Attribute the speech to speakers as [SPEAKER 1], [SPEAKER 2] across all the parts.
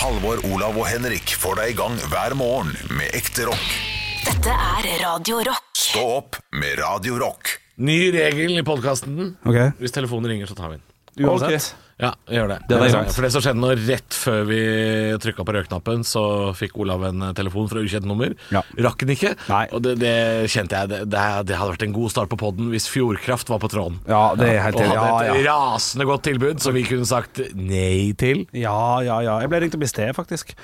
[SPEAKER 1] Halvor, Olav og Henrik får deg i gang hver morgen med ekte rock.
[SPEAKER 2] Dette er Radio Rock.
[SPEAKER 1] Stå opp med Radio Rock.
[SPEAKER 3] Ny regel i podkasten.
[SPEAKER 4] Ok.
[SPEAKER 3] Hvis telefonen ringer, så tar vi den.
[SPEAKER 4] Uansett.
[SPEAKER 3] Ja, jeg gjør det.
[SPEAKER 4] Det var greit.
[SPEAKER 3] For det som skjedde nå, rett før vi trykka på rødknappen, så fikk Olav en eh, telefon fra ukjent nummer.
[SPEAKER 4] Ja.
[SPEAKER 3] Rakk den ikke.
[SPEAKER 4] Nei.
[SPEAKER 3] Og det, det kjente jeg. Det, det, det hadde vært en god start på poden hvis Fjordkraft var på tråden.
[SPEAKER 4] Ja, det er helt
[SPEAKER 3] Og
[SPEAKER 4] enig.
[SPEAKER 3] hadde
[SPEAKER 4] Ja,
[SPEAKER 3] et
[SPEAKER 4] ja.
[SPEAKER 3] rasende godt tilbud som vi kunne sagt nei til.
[SPEAKER 4] ja, ja, ja. Jeg ble ringt opp i sted, faktisk.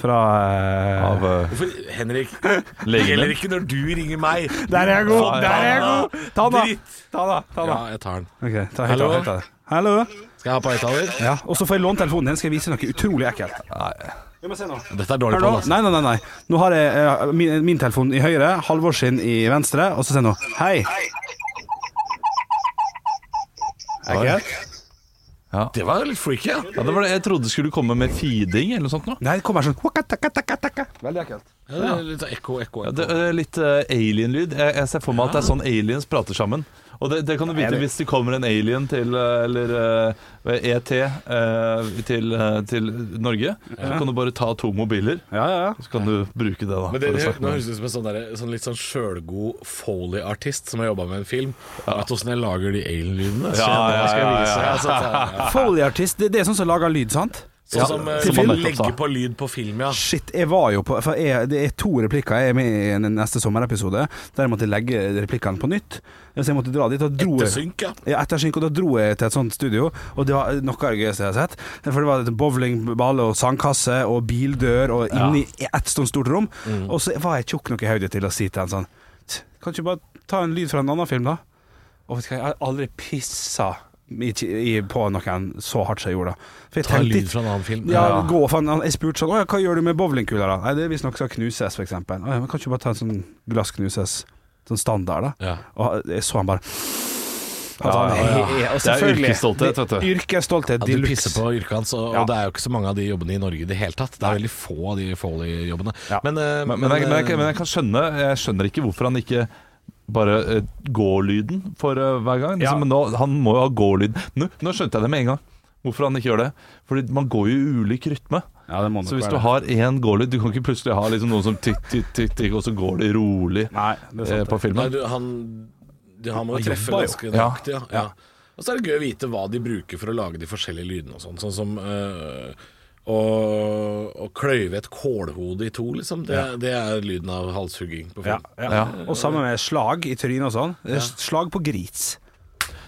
[SPEAKER 4] Fra eh,
[SPEAKER 5] Av eh,
[SPEAKER 3] For Henrik, det
[SPEAKER 5] Legen
[SPEAKER 3] gjelder
[SPEAKER 5] min.
[SPEAKER 3] ikke når du ringer meg.
[SPEAKER 4] Der er jeg god! Der er jeg god! Ta den,
[SPEAKER 3] Dritt.
[SPEAKER 4] da! Ta den, da. Ta
[SPEAKER 3] Ja,
[SPEAKER 4] den.
[SPEAKER 3] jeg tar den.
[SPEAKER 4] Ok, ta
[SPEAKER 3] Hallo?
[SPEAKER 4] høyttaler, høyttaler. Hallo?
[SPEAKER 3] Skal jeg ha på høyttaler?
[SPEAKER 4] Ja, og så får jeg låne telefonen din, skal jeg vise noe utrolig ekkelt. Vi må se nå.
[SPEAKER 3] Dette er dårlig
[SPEAKER 4] Her nå.
[SPEAKER 3] på altså.
[SPEAKER 4] Nei, nei, nei, nei. Nå har jeg eh, min, min telefon i høyre, Halvor sin i venstre, og så ser jeg nå. Hei! Ekkelt?
[SPEAKER 3] Det var litt freaky, ja.
[SPEAKER 5] ja, det var det. Jeg trodde det skulle komme med feeding eller noe sånt. Nå.
[SPEAKER 4] Nei, det kommer sånn wakatakatakataka. Veldig ekkelt.
[SPEAKER 3] ja det er litt ekko, ekko,
[SPEAKER 5] Ja,
[SPEAKER 3] ekko.
[SPEAKER 5] det er litt eh, alien-lyd. Jeg, jeg ser for meg at det er sånn aliens prater sammen. Og det, det kan du vite hvis det kommer en alien til eh, Eller eh, ET eh, til, eh, til Norge. Så kan du bare ta to mobiler,
[SPEAKER 4] Ja, ja, ja.
[SPEAKER 5] så kan du bruke det, da.
[SPEAKER 3] Men det,
[SPEAKER 5] for å
[SPEAKER 3] det,
[SPEAKER 5] snakke
[SPEAKER 3] nå
[SPEAKER 5] med-
[SPEAKER 3] høres det ut som en sånn, derre- sånn litt sånn sjølgod Foley-artist som har jobba med en film. Vet du åssen jeg lager de alien-lydene? Så
[SPEAKER 5] Ja,
[SPEAKER 3] jeg-
[SPEAKER 5] ja,
[SPEAKER 3] skal jeg
[SPEAKER 5] ja,
[SPEAKER 3] vise.
[SPEAKER 5] ja.
[SPEAKER 3] Altså, at-
[SPEAKER 4] Foley-artist, det, det er sånn som lager lyd, sant?
[SPEAKER 3] Sånn
[SPEAKER 5] Ja,
[SPEAKER 3] som eh,
[SPEAKER 5] til
[SPEAKER 3] man
[SPEAKER 5] film.
[SPEAKER 3] legger på lyd på film, ja.
[SPEAKER 4] Shit, jeg var jo på For jeg, det er to replikker jeg er med i en- en neste sommerepisode, der jeg måtte legge replikkene på nytt. Så jeg måtte dra dit. Og dro jeg-
[SPEAKER 3] Ettersynk, ja.
[SPEAKER 4] Ja, etter synk, og da dro jeg til et sånt studio, og det var noe av det gøyeste jeg har sett. For det var et bowlingball og sandkasse og bildør og inni ett sånt stort rom.
[SPEAKER 3] Mm.
[SPEAKER 4] Og så var jeg tjukk nok i hodet til å si til han sånn «Tsk, Kan du ikke bare ta en lyd fra en annen film, da? Og vet du hva, jeg har aldri pissa i, i, på noen så hardt som jeg gjorde da. For jeg
[SPEAKER 3] Ta en
[SPEAKER 4] tenkte
[SPEAKER 3] lyd fra en annen film.
[SPEAKER 4] ja, gå faen. Han- Jeg spurte sånn «Å ja, Hva gjør du med bowlingkula, da? Nei, det er Visstnok skal knuses, f.eks. Ja, men kan ikke du bare ta en sånn glass knuses, sånn standard, da?
[SPEAKER 3] Ja.
[SPEAKER 4] Og jeg så han bare
[SPEAKER 5] Ja,
[SPEAKER 4] Altså, han
[SPEAKER 5] ja, ja.
[SPEAKER 4] he- he- og
[SPEAKER 5] Det er
[SPEAKER 4] selvfølgelig,
[SPEAKER 5] yrkesstolthet, vet du.
[SPEAKER 4] det- Yrkesstolthet
[SPEAKER 3] Ja,
[SPEAKER 4] de
[SPEAKER 3] du pisser på yrket hans, og,
[SPEAKER 4] Ja.
[SPEAKER 3] og det er jo ikke så mange av de jobbene i Norge i det hele tatt. Det er veldig få av de Foley-jobbene.
[SPEAKER 4] Ja.
[SPEAKER 3] Men, eh,
[SPEAKER 5] Men, men, jeg, men, jeg,
[SPEAKER 3] eh,
[SPEAKER 5] men jeg kan skjønne Jeg skjønner ikke hvorfor han ikke bare eh, går-lyden for eh, hver gang.
[SPEAKER 4] Ja.
[SPEAKER 5] Liksom, men nå, han må jo ha gå-lyd. Nå, nå skjønte jeg det med en gang. Hvorfor han ikke gjør det. Fordi man går jo i ulik rytme.
[SPEAKER 4] Ja, det må nok
[SPEAKER 5] Så hvis
[SPEAKER 4] være
[SPEAKER 5] du
[SPEAKER 4] det.
[SPEAKER 5] har én gå-lyd Du kan ikke plutselig ha liksom noen som tikk, tikk, tikk, tikk, og så går det rolig
[SPEAKER 4] Nei, det er
[SPEAKER 5] eh,
[SPEAKER 4] sant.
[SPEAKER 5] på
[SPEAKER 3] Nei,
[SPEAKER 5] filmen.
[SPEAKER 3] du, han, du, han må jo treffe
[SPEAKER 5] jobber jo.
[SPEAKER 3] ganske nøyaktig. Ja. Ja. Og så er det gøy å vite hva de bruker for å lage de forskjellige lydene og sånn. Sånn som øh, å, å kløyve et kålhode i to, liksom. Det, det er lyden av halshugging på
[SPEAKER 4] Ja,
[SPEAKER 3] film.
[SPEAKER 4] ja.
[SPEAKER 5] Ja.
[SPEAKER 4] Og sammen med slag i trynet og sånn. Det er Slag på gris.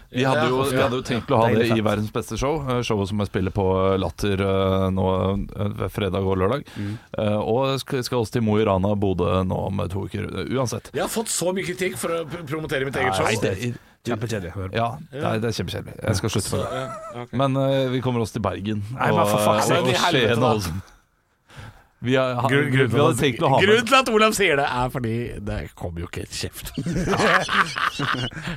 [SPEAKER 5] Vi hadde, jo, vi hadde jo tenkt å ha
[SPEAKER 4] Deilig
[SPEAKER 5] det i
[SPEAKER 4] fett.
[SPEAKER 5] Verdens beste show, eh, showet som jeg spiller på eh, Latter eh, nå eh, ved fredag og lørdag.
[SPEAKER 4] Mm.
[SPEAKER 5] Eh, Og skal skal også til Mo i Rana og Bodø nå om to uker. Eh, Uansett.
[SPEAKER 3] Jeg har fått så mye kritikk for å p- promotere mitt eget show.
[SPEAKER 5] Nei, det,
[SPEAKER 4] Kjempekjedelig. Hør på.
[SPEAKER 5] ja, det er, det er kjempekjedelig. Jeg skal slutte med det.
[SPEAKER 3] Ja, ok.
[SPEAKER 5] Men eh, vi kommer oss til Bergen.
[SPEAKER 4] Nei, men for fuck's sake,
[SPEAKER 5] og
[SPEAKER 4] i helvete,
[SPEAKER 5] Skien
[SPEAKER 4] da.
[SPEAKER 5] og sånn. Vi, har, ha,
[SPEAKER 3] Grunnen
[SPEAKER 5] vi
[SPEAKER 3] grunnen til
[SPEAKER 5] hadde
[SPEAKER 3] at-
[SPEAKER 5] tenkt å ha
[SPEAKER 3] grunnen
[SPEAKER 5] med
[SPEAKER 3] til at Olav sier det, er fordi det kommer jo ikke et kjeft.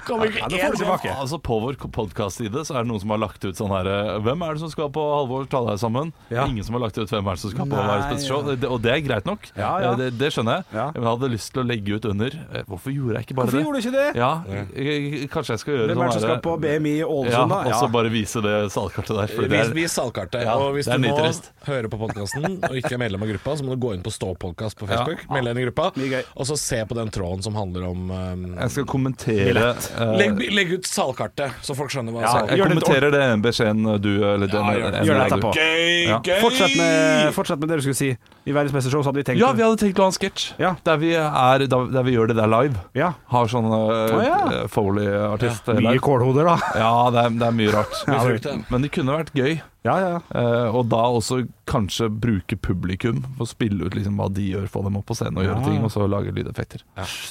[SPEAKER 3] kommer ikke
[SPEAKER 4] det får
[SPEAKER 3] én
[SPEAKER 4] du
[SPEAKER 3] kjeft.
[SPEAKER 4] tilbake.
[SPEAKER 5] Altså På vår podkast-side så er det noen som har lagt ut sånn her eh, Hvem er det som skal på Halvor ta deg sammen?
[SPEAKER 4] Ja.
[SPEAKER 5] Ingen som har lagt ut hvem er det som skal på
[SPEAKER 4] Nei,
[SPEAKER 5] Verdens beste show.
[SPEAKER 4] ja.
[SPEAKER 5] Det, og det er greit nok.
[SPEAKER 4] Ja, ja.
[SPEAKER 5] Eh, Det, det skjønner jeg.
[SPEAKER 4] Ja.
[SPEAKER 5] Men jeg hadde lyst til å legge ut under eh, Hvorfor gjorde jeg ikke bare
[SPEAKER 4] Hvorfor gjorde
[SPEAKER 5] det?
[SPEAKER 4] du ikke det?
[SPEAKER 5] Ja, eh, kanskje jeg skal gjøre
[SPEAKER 4] Hvem er det som
[SPEAKER 5] sånn
[SPEAKER 4] skal på BMI i
[SPEAKER 5] Ja,
[SPEAKER 4] Ålesund, da?
[SPEAKER 5] og så bare vise det salgkartet der. fordi det
[SPEAKER 3] Vis,
[SPEAKER 5] er-
[SPEAKER 3] vis salgkartet.
[SPEAKER 5] Ja,
[SPEAKER 3] og hvis
[SPEAKER 5] det
[SPEAKER 3] du
[SPEAKER 5] er
[SPEAKER 3] nå
[SPEAKER 5] nitrist.
[SPEAKER 3] hører på podkasten og ikke er medlem av gruppa, så må du gå inn på Stå podcast på Facebook,
[SPEAKER 5] Ja.
[SPEAKER 3] meld deg inn i gruppa,
[SPEAKER 4] Mye gøy.
[SPEAKER 3] og så se på den tråden som handler om um,
[SPEAKER 5] Jeg skal kommentere eh,
[SPEAKER 3] legg, legg ut salgkartet, så folk skjønner hva salg-
[SPEAKER 5] Jeg
[SPEAKER 4] Gjør det
[SPEAKER 5] kommenterer det beskjeden eh, du eller den,
[SPEAKER 3] Ja, gjør det.
[SPEAKER 5] den-
[SPEAKER 4] Gjør det
[SPEAKER 5] den-
[SPEAKER 4] etterpå.
[SPEAKER 3] Gøy,
[SPEAKER 5] Ja.
[SPEAKER 3] gøy!
[SPEAKER 4] Fortsett med, fortsett med det du skulle si. I Verdens beste show så hadde vi tenkt
[SPEAKER 5] Ja, vi hadde tenkt å ha en sketsj
[SPEAKER 4] Ja.
[SPEAKER 5] der, vi er- da- der vi gjør det der live.
[SPEAKER 4] Ja.
[SPEAKER 5] Har sånn eh,
[SPEAKER 4] Å, ja.
[SPEAKER 5] eh, Foley-artist eh,
[SPEAKER 4] Mye
[SPEAKER 5] live.
[SPEAKER 4] kålhoder, da.
[SPEAKER 5] Ja, det er, det er mye rart.
[SPEAKER 3] Mye frukt, ja.
[SPEAKER 5] Men det kunne vært gøy.
[SPEAKER 4] Ja, ja, ja.
[SPEAKER 5] eh, og da også kanskje bruke publikum for å spille ut liksom hva de gjør. Få dem opp på scenen og gjøre
[SPEAKER 4] Ja.
[SPEAKER 5] ting, og så lage lydeffekter.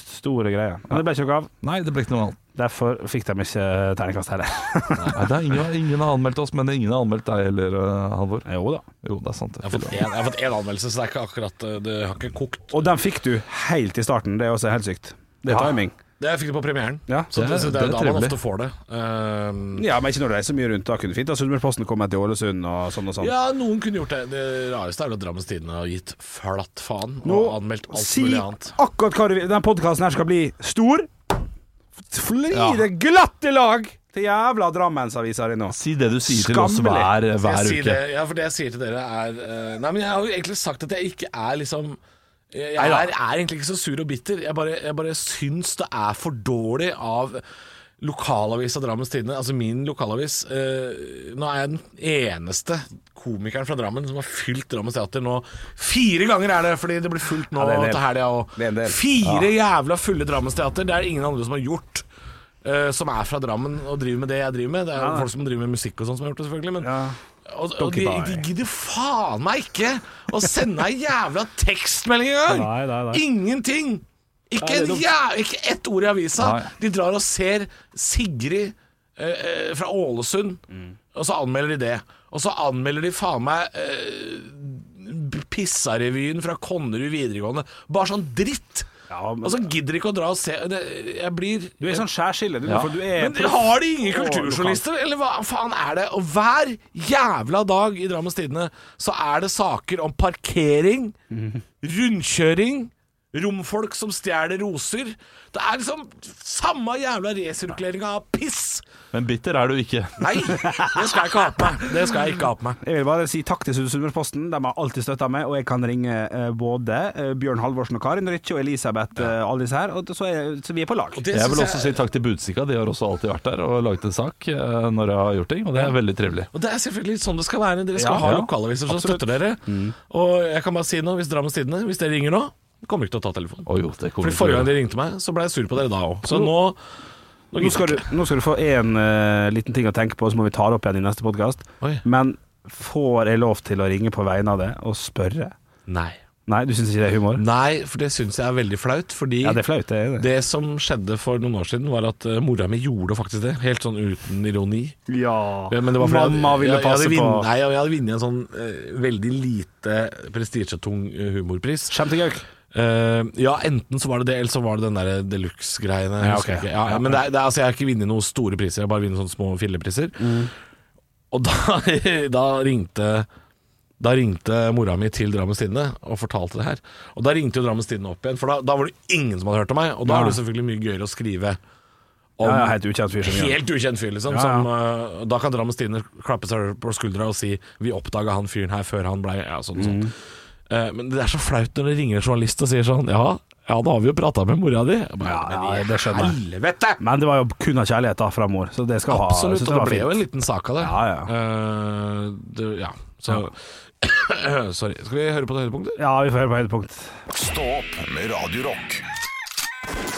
[SPEAKER 4] Store greier. Men det ble ikke noe av.
[SPEAKER 5] Nei, det ble ikke noe annet.
[SPEAKER 4] Derfor fikk de ikke terningkast heller.
[SPEAKER 5] Nei, det er ingen, ingen har anmeldt oss, men ingen har anmeldt deg heller, eh, Halvor.
[SPEAKER 4] Jo da.
[SPEAKER 5] Jo, det er sant. det.
[SPEAKER 3] Jeg har fått en- jeg har fått én anmeldelse, så det er ikke akkurat uh, Det har ikke kokt.
[SPEAKER 4] Og den fikk du helt i starten, det er også helt sykt. Det er
[SPEAKER 5] Ja.
[SPEAKER 4] timing.
[SPEAKER 3] Det jeg fikk det på premieren.
[SPEAKER 4] Ja.
[SPEAKER 3] Så det,
[SPEAKER 5] Det er-
[SPEAKER 3] så det er
[SPEAKER 5] det
[SPEAKER 3] jo
[SPEAKER 5] er
[SPEAKER 3] da man
[SPEAKER 5] trivelig.
[SPEAKER 3] ofte får det. Um,
[SPEAKER 4] Ja, men ikke når det er så mye rundt. Da kunne fint da Sunnmørsposten komme til Ålesund og sånn og sånn.
[SPEAKER 3] ja, noen kunne gjort det. Det rareste er vel at Drammens Tidende har gitt flatt faen og anmeldt alt
[SPEAKER 4] si
[SPEAKER 3] mulig annet.
[SPEAKER 4] akkurat hva du vil. Den podkasten her skal bli stor. Fly det glatt i lag! Til jævla Drammensavisa di nå.
[SPEAKER 5] Si det du sier til oss hver,
[SPEAKER 4] Skammelig.
[SPEAKER 5] hver
[SPEAKER 3] jeg sier
[SPEAKER 5] uke.
[SPEAKER 3] Det, ja, for det jeg sier til dere er eh, Nei, men jeg har jo egentlig sagt at jeg ikke er liksom jeg jeg
[SPEAKER 5] Neida.
[SPEAKER 3] er, er egentlig ikke så sur og bitter. Jeg bare, jeg bare syns det er for dårlig av lokalavisa Drammens Tidende, altså min lokalavis. eh, nå er jeg den eneste komikeren fra Drammen som har fylt Drammens Teater nå. Fire ganger er det, fordi det blir fullt nå
[SPEAKER 4] Ja, det er en del.
[SPEAKER 3] til helga òg.
[SPEAKER 4] Det er en del.
[SPEAKER 3] Fire jævla fulle Drammens Teater. Det er det ingen andre som har gjort. eh, som er fra Drammen og driver med det jeg driver med. Det er jo folk som driver med musikk og sånn som har gjort det, selvfølgelig. Men
[SPEAKER 4] Ja.
[SPEAKER 3] og, og de, de gidder faen meg ikke å sende ei jævla tekstmelding
[SPEAKER 6] Nei, nei,
[SPEAKER 3] engang!
[SPEAKER 6] nei.
[SPEAKER 3] Ingenting! Ikke, en jæ... ikke ett ord i avisa.
[SPEAKER 5] Nei.
[SPEAKER 3] De drar og ser Sigrid eh, eh, fra Ålesund, og så anmelder de det. Og så anmelder de faen meg eh, Pissarevyen fra Konnerud videregående. Bare sånn dritt!
[SPEAKER 4] Ja, men-
[SPEAKER 3] og så gidder de ikke å dra og se det, Jeg blir
[SPEAKER 4] Du er sånn skjærskille, du. For du er
[SPEAKER 3] men dere har de ingen kulturjournalister, eller hva faen er det? Og hver jævla dag i Drammens Tidende så er det saker om parkering,
[SPEAKER 5] Mhm.
[SPEAKER 3] rundkjøring, romfolk som stjeler roser. Det er liksom samme jævla resirkuleringa av piss!
[SPEAKER 5] Men bitter er du ikke.
[SPEAKER 3] Nei, det skal jeg ikke ha på meg. Det skal jeg ikke ha på meg.
[SPEAKER 4] Jeg vil bare si takk til Sunnmørsposten. De har alltid støtta meg, og jeg kan ringe eh, både eh, Bjørn Halvorsen og Karin Rytje og Elisabeth, eh, alle disse her, og så, er, så vi er på lag.
[SPEAKER 3] Og det
[SPEAKER 5] Jeg vil
[SPEAKER 3] synes
[SPEAKER 5] også si takk til Budstikka. De har også alltid vært der og laget en sak eh, når jeg har gjort ting, og det er veldig trivelig.
[SPEAKER 3] Og det er selvfølgelig sånn det skal være. Dere skal
[SPEAKER 5] Ja,
[SPEAKER 3] ha
[SPEAKER 5] ja. Mm.
[SPEAKER 3] lokalaviser som støtter dere. Og jeg kan bare si noe, hvis Drammens Tidende, hvis dere ringer nå, kommer de ikke til å ta telefonen.
[SPEAKER 5] Å jo, det kommer
[SPEAKER 3] Fordi Forrige gang de ringte meg, så ble jeg sur på dere da òg. Så nå
[SPEAKER 4] Nå skal, du, nå skal du få én liten ting å tenke på, så må vi ta det opp igjen i neste podkast.
[SPEAKER 3] Oi.
[SPEAKER 4] Men får jeg lov til å ringe på vegne av det og spørre?
[SPEAKER 3] Nei.
[SPEAKER 4] Nei, du syns ikke det er humor?
[SPEAKER 3] Nei, for det syns jeg er veldig flaut. Fordi
[SPEAKER 4] Ja, det
[SPEAKER 3] det,
[SPEAKER 4] er flaut, det er det.
[SPEAKER 3] som skjedde for noen år siden, var at eh, mora mi gjorde faktisk det. Helt sånn uten ironi.
[SPEAKER 4] Ja.
[SPEAKER 3] Ja, men det var fordi
[SPEAKER 4] Mamma ville
[SPEAKER 3] jeg, jeg,
[SPEAKER 4] passe
[SPEAKER 3] jeg hadde vinn-
[SPEAKER 4] på-
[SPEAKER 3] Nei, jeg hadde vunnet en sånn eh, veldig lite prestisjetung eh, humorpris.
[SPEAKER 4] Skjem til gauk.
[SPEAKER 3] Eh, ja, enten så var det det, eller så var det den der deluxe-greiene. jeg
[SPEAKER 4] Ja,
[SPEAKER 3] husker
[SPEAKER 4] ok.
[SPEAKER 3] ikke. ja, ja, men det, er- det, er- altså, jeg har ikke vunnet noen store priser, jeg har bare vunnet sånne små fillepriser.
[SPEAKER 4] Mm.
[SPEAKER 3] Og da, da ringte da ringte mora mi til Drammens Tidende og fortalte det her. Og da ringte jo Drammens Tidende opp igjen, for da, da var det ingen som hadde hørt om meg. Og da er det jo selvfølgelig mye gøyere å skrive om
[SPEAKER 4] Ja, ja, helt ukjent fyr. som gjør det.
[SPEAKER 3] Helt ukjent fyr, liksom.
[SPEAKER 4] Ja, ja.
[SPEAKER 3] Som, eh, da kan Drammens Tidende klappe seg på skuldra og si 'vi oppdaga han fyren her før han blei ja, sånn, sånn. Eh, men det er så flaut når det ringer en journalist og sier sånn 'ja, ja da har vi jo prata med mora di'. Jeg Bare,
[SPEAKER 4] Ja,
[SPEAKER 3] men i
[SPEAKER 4] ja, det skjønner jeg.
[SPEAKER 3] Helvete!
[SPEAKER 4] Men det var jo kun av kjærlighet da fra mor, så det skal ha
[SPEAKER 3] Absolutt.
[SPEAKER 4] jeg
[SPEAKER 3] Og
[SPEAKER 4] synes
[SPEAKER 3] det
[SPEAKER 4] var
[SPEAKER 3] ble jo
[SPEAKER 4] fint.
[SPEAKER 3] en liten sak av det.
[SPEAKER 4] Ja, ja.
[SPEAKER 3] Eh, det, ja. Så Sorry. Skal vi høre på det høydepunktet?
[SPEAKER 4] Ja, vi får høre på høydepunkt.
[SPEAKER 1] Stå opp med Radio Rock.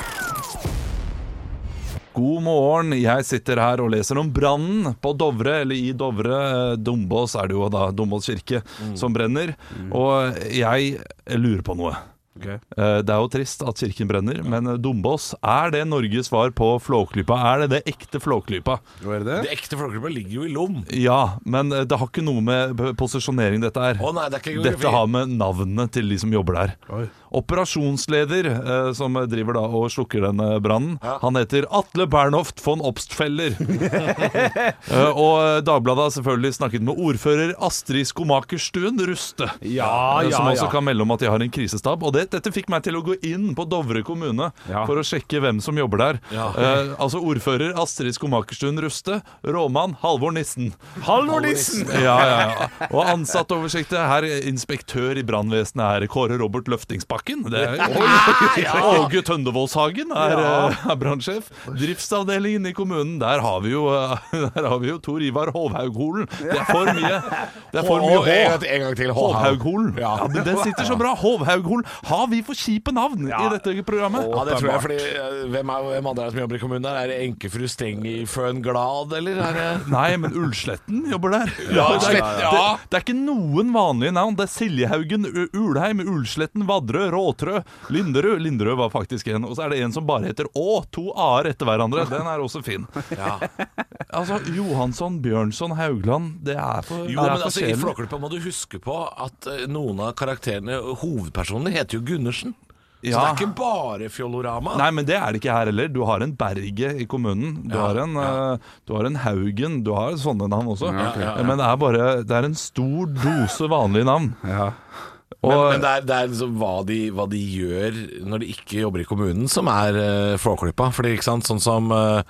[SPEAKER 5] God morgen, jeg sitter her og leser om brannen på Dovre, eller i Dovre. eh, Dombås er det jo da, Dombås kirke, som brenner. Og jeg lurer på noe. Eh, Det er jo trist at kirken brenner, men eh, Dombås, er det Norges svar på Flåklypa? Er det det ekte Flåklypa?
[SPEAKER 3] Det ekte folkegruppa ligger jo i Lom.
[SPEAKER 5] Ja, men eh, det har ikke noe med p- posisjonering dette er.
[SPEAKER 3] Å nei, det er ikke geografi.
[SPEAKER 5] dette har med navnene til de som jobber der. Operasjonsleder, eh, som driver da og slukker den eh, brannen, han heter Atle Bernhoft von Obstfeller. Eh, og Dagbladet har selvfølgelig snakket med ordfører Astrid Skomakerstuen Ruste.
[SPEAKER 4] Ja,
[SPEAKER 5] eh,
[SPEAKER 4] ja,
[SPEAKER 5] som også
[SPEAKER 4] ja.
[SPEAKER 5] kan melde om at de har en krisestab. Og det, dette fikk meg til å gå inn på Dovre kommune
[SPEAKER 4] Ja.
[SPEAKER 5] for å sjekke hvem som jobber der. Eh, altså ordfører Astrid Skomakerstuen Ruste, rådmann Halvor Nissen.
[SPEAKER 4] Halvor Nissen!
[SPEAKER 5] Ja, ja, ja. Og ansattoversiktet her, inspektør i brannvesenet er Kåre Robert Løftingsbakken. Det er Åge Tøndevålshagen er, eh, er brannsjef. Driftsavdelingen i kommunen, der har vi jo, eh, der har vi jo Tor Ivar Hovhaugholen. Det er for mye. Det er for mye
[SPEAKER 3] Og
[SPEAKER 5] H.
[SPEAKER 3] en, en gang til.
[SPEAKER 5] Hovhaugholen.
[SPEAKER 3] Ja.
[SPEAKER 5] Ja, men det sitter så bra. Hovhaugholen. Har vi for kjipe navn i dette programmet?
[SPEAKER 3] Ja, det tror jeg, fordi eh, hvem, er, hvem andre er det som jobber i kommunen der? Er det enkefru Stengiføn Glad, eller? Er det
[SPEAKER 5] Nei, men Ullsletten jobber der.
[SPEAKER 3] Ja,
[SPEAKER 5] det, er,
[SPEAKER 3] Ullsletten,
[SPEAKER 5] det,
[SPEAKER 3] ja.
[SPEAKER 5] det er ikke noen vanlige navn. Det er Siljehaugen, U- Ulheim, Ullsletten, Vadrø, Råtrø, Linderud. Linderud var faktisk en. Og så er det en som bare heter Å, to a-er etter hverandre. Den er også fin. Altså, Johansson, Bjørnson, Haugland. Det er for,
[SPEAKER 3] Jo,
[SPEAKER 5] det er
[SPEAKER 3] men
[SPEAKER 5] for
[SPEAKER 3] altså, i
[SPEAKER 5] sjelen.
[SPEAKER 3] Flåklypa må du huske på at eh, noen av karakterene, hovedpersonene, heter jo Gundersen. Så det
[SPEAKER 5] Ja.
[SPEAKER 3] er ikke bare Fjolorama.
[SPEAKER 5] Nei, men det er det ikke her heller. Du har en Berge i kommunen. Du,
[SPEAKER 3] Ja,
[SPEAKER 5] har, en, eh, du har en Haugen. Du har sånne navn også.
[SPEAKER 4] Ja, ok. Ja,
[SPEAKER 5] Men det er bare Det er en stor dose vanlige navn.
[SPEAKER 4] Ja.
[SPEAKER 5] Og,
[SPEAKER 3] Men, men det er, det er liksom hva de, hva de gjør når de ikke jobber i kommunen, som er uh, Flåklypa. Fordi, ikke sant, sånn som eh,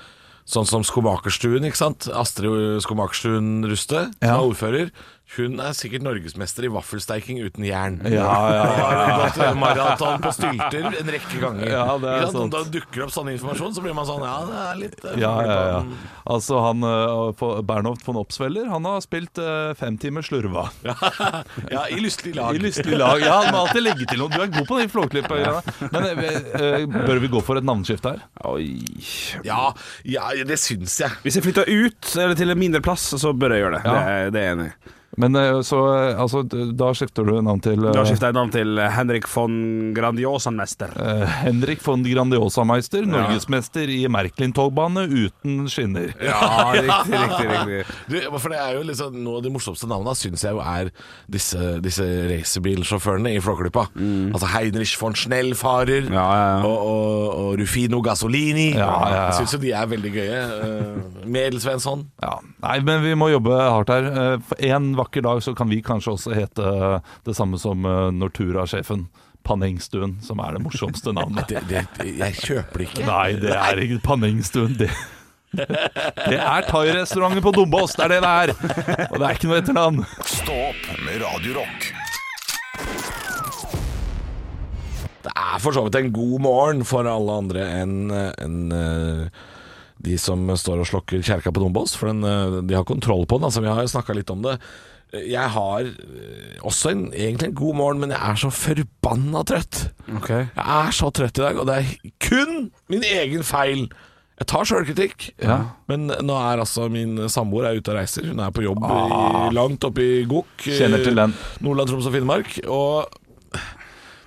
[SPEAKER 3] Sånn som Skomakerstuen, ikke sant? Astrid eh, Skomakerstuen Ruste, som
[SPEAKER 5] Ja.
[SPEAKER 3] er ordfører. Hun er sikkert norgesmester i vaffelsteiking uten jern.
[SPEAKER 5] Ja, ja,
[SPEAKER 3] Hun har gått maraton på stylter en rekke ganger.
[SPEAKER 5] Ja, det er
[SPEAKER 3] Ikke sant? Og
[SPEAKER 5] sant.
[SPEAKER 3] Da dukker det opp sånn informasjon, så blir man sånn Ja, det er litt eh,
[SPEAKER 5] Ja, ja, ja. Altså, han eh, på- Bernhoft von Opsweller Han har spilt eh, fem timer slurva.
[SPEAKER 3] ja, i lystelig
[SPEAKER 5] I
[SPEAKER 3] lag.
[SPEAKER 5] lystelig lag. Ja, han må alltid legge til noe. Du er god på de flåklypa. Men eh, eh, bør vi gå for et navneskifte her?
[SPEAKER 4] Oi.
[SPEAKER 3] Ja, ja, det syns jeg.
[SPEAKER 4] Hvis jeg flytter ut, eller til en mindre plass, så bør jeg gjøre det.
[SPEAKER 5] Ja.
[SPEAKER 4] Det, er- det er jeg enig i.
[SPEAKER 5] Men eh, så eh, Altså, d- da skifter du navn til eh,
[SPEAKER 4] Da skifter jeg navn til Henrik von Grandiosanmester.
[SPEAKER 5] eh, Henrik von Grandiosa-meister, norgesmester i Merklin-togbane uten skinner.
[SPEAKER 4] Ja, riktig, riktig, riktig.
[SPEAKER 3] Du, for det er jo liksom Noe av de morsomste navnene syns jeg jo er disse, disse racerbilsjåførene i Flåklypa. Altså Heinrich von Schnell-farer
[SPEAKER 4] Mm. Ja, ja, ja.
[SPEAKER 3] og, og, og Rufino Gasolini.
[SPEAKER 5] Ja, ja, ja.
[SPEAKER 3] Jeg syns jo de er veldig gøye. Uh, Medel Svensson.
[SPEAKER 5] Ja. Nei, men vi må jobbe hardt her. Eh, For en vakker dag så kan vi kanskje også hete eh, det samme som eh, Nortura-sjefen. Pannengstuen, som er det morsomste navnet.
[SPEAKER 3] Det, det, jeg kjøper det ikke.
[SPEAKER 5] Nei, det er ikke Pannengstuen. Det, det er thairestauranten på Dombås, det er det det er! Og det er ikke noe etternavn.
[SPEAKER 1] Stå opp med Radio Rock.
[SPEAKER 3] Det er for så vidt en god morgen for alle andre enn enn, eh, de som står og slokker kjerka på Dombås, for den, eh, de har kontroll på den. Altså, vi har jo snakka litt om det. Jeg har eh, også en, egentlig en god morgen, men jeg er så forbanna trøtt.
[SPEAKER 4] Ok.
[SPEAKER 3] Jeg er så trøtt i dag, og det er kun min egen feil. Jeg tar sjølkritikk, men nå er altså min samboer er ute og reiser. Hun er på jobb i, langt oppe i Gok, i
[SPEAKER 5] Ah. Kjenner til den.
[SPEAKER 3] Nordland, Troms og Finnmark. Og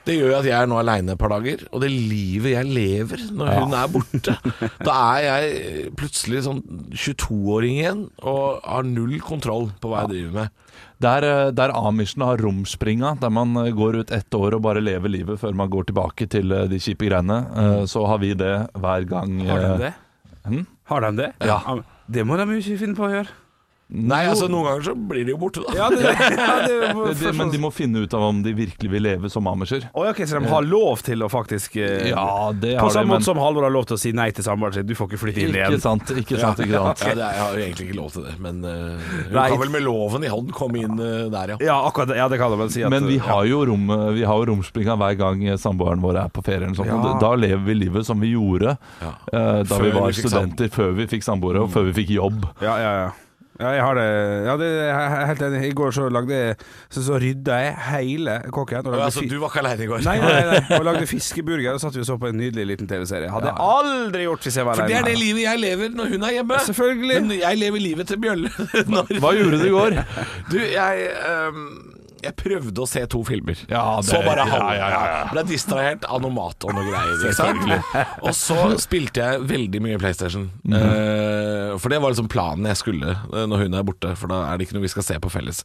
[SPEAKER 3] det gjør jo at jeg er nå aleine et par dager, og det livet jeg lever når hun er borte Da er jeg plutselig sånn 22-åring igjen og har null kontroll på
[SPEAKER 5] Ah.
[SPEAKER 3] hva jeg driver med.
[SPEAKER 5] Der, eh, der amishene har romspringa, der man eh, går ut ett år og bare lever livet før man går tilbake til eh, de kjipe greiene, eh, så har vi det hver gang.
[SPEAKER 4] Har de
[SPEAKER 5] eh,
[SPEAKER 4] det?
[SPEAKER 5] hm?
[SPEAKER 4] Har de det?
[SPEAKER 5] Ja.
[SPEAKER 4] Det må de jo ikke finne på å gjøre.
[SPEAKER 3] Nei, altså Noen ganger så blir de jo borte, da.
[SPEAKER 4] Ja, det, ja, det må,
[SPEAKER 5] De, men de må finne ut av om de virkelig vil leve som amisher.
[SPEAKER 4] sånn- Å, ja, ok, så de har lov til å faktisk eh,
[SPEAKER 5] Ja, det
[SPEAKER 4] På
[SPEAKER 5] har de,
[SPEAKER 4] samme
[SPEAKER 5] men
[SPEAKER 4] måte som Halvor har lov til å si nei til samboeren sin. Du får ikke flytte inn
[SPEAKER 5] ikke
[SPEAKER 4] igjen.
[SPEAKER 5] sant, ikke sant, ikke sant.
[SPEAKER 3] Ja, det er, jeg har jo egentlig ikke lov til det, men eh, hun
[SPEAKER 4] Nei.
[SPEAKER 3] kan vel med loven i hånd komme inn eh, der, ja.
[SPEAKER 4] Ja, akkurat det. Ja, det kan de vel si. At,
[SPEAKER 5] Men vi har jo, rom, vi har jo romspringa hver gang samboeren vår er på ferie. Eller sånt,
[SPEAKER 4] Ja.
[SPEAKER 5] og Da lever vi livet som vi gjorde
[SPEAKER 3] Ja.
[SPEAKER 5] eh, da
[SPEAKER 3] Før
[SPEAKER 5] vi var
[SPEAKER 3] vi fikk
[SPEAKER 5] studenter, før vi fikk samboere og før vi fikk jobb.
[SPEAKER 4] Ja, ja, ja. Ja, jeg har det. Ja, det jeg er helt enig. I går så lagde jeg Så, så rydda jeg hele kåken. Og
[SPEAKER 3] Ja,
[SPEAKER 4] lagde
[SPEAKER 3] altså,
[SPEAKER 4] fi-
[SPEAKER 3] du var ikke aleine i går.
[SPEAKER 4] Nei, nei, nei. Og lagde fiskeburger. Og satt vi og så på en nydelig liten TV-serie. Hadde jeg aldri gjort hvis jeg var
[SPEAKER 3] For det er det
[SPEAKER 4] alene.
[SPEAKER 3] livet jeg lever når hun er hjemme.
[SPEAKER 4] Selvfølgelig.
[SPEAKER 3] Men jeg lever livet til Bjølle. når-
[SPEAKER 5] Hva gjorde du i går?
[SPEAKER 3] Du, jeg ehm, Jeg prøvde å se to filmer.
[SPEAKER 5] Ja, det-
[SPEAKER 3] så bare halv.
[SPEAKER 5] ja, ja, ja, ja.
[SPEAKER 3] Ble distrahert av noe mat og noe greier. ikke sant? Og så spilte jeg veldig mye PlayStation.
[SPEAKER 5] Mhm.
[SPEAKER 3] Eh, for det var liksom planen jeg skulle eh, når hun er borte, for da er det ikke noe vi skal se på felles.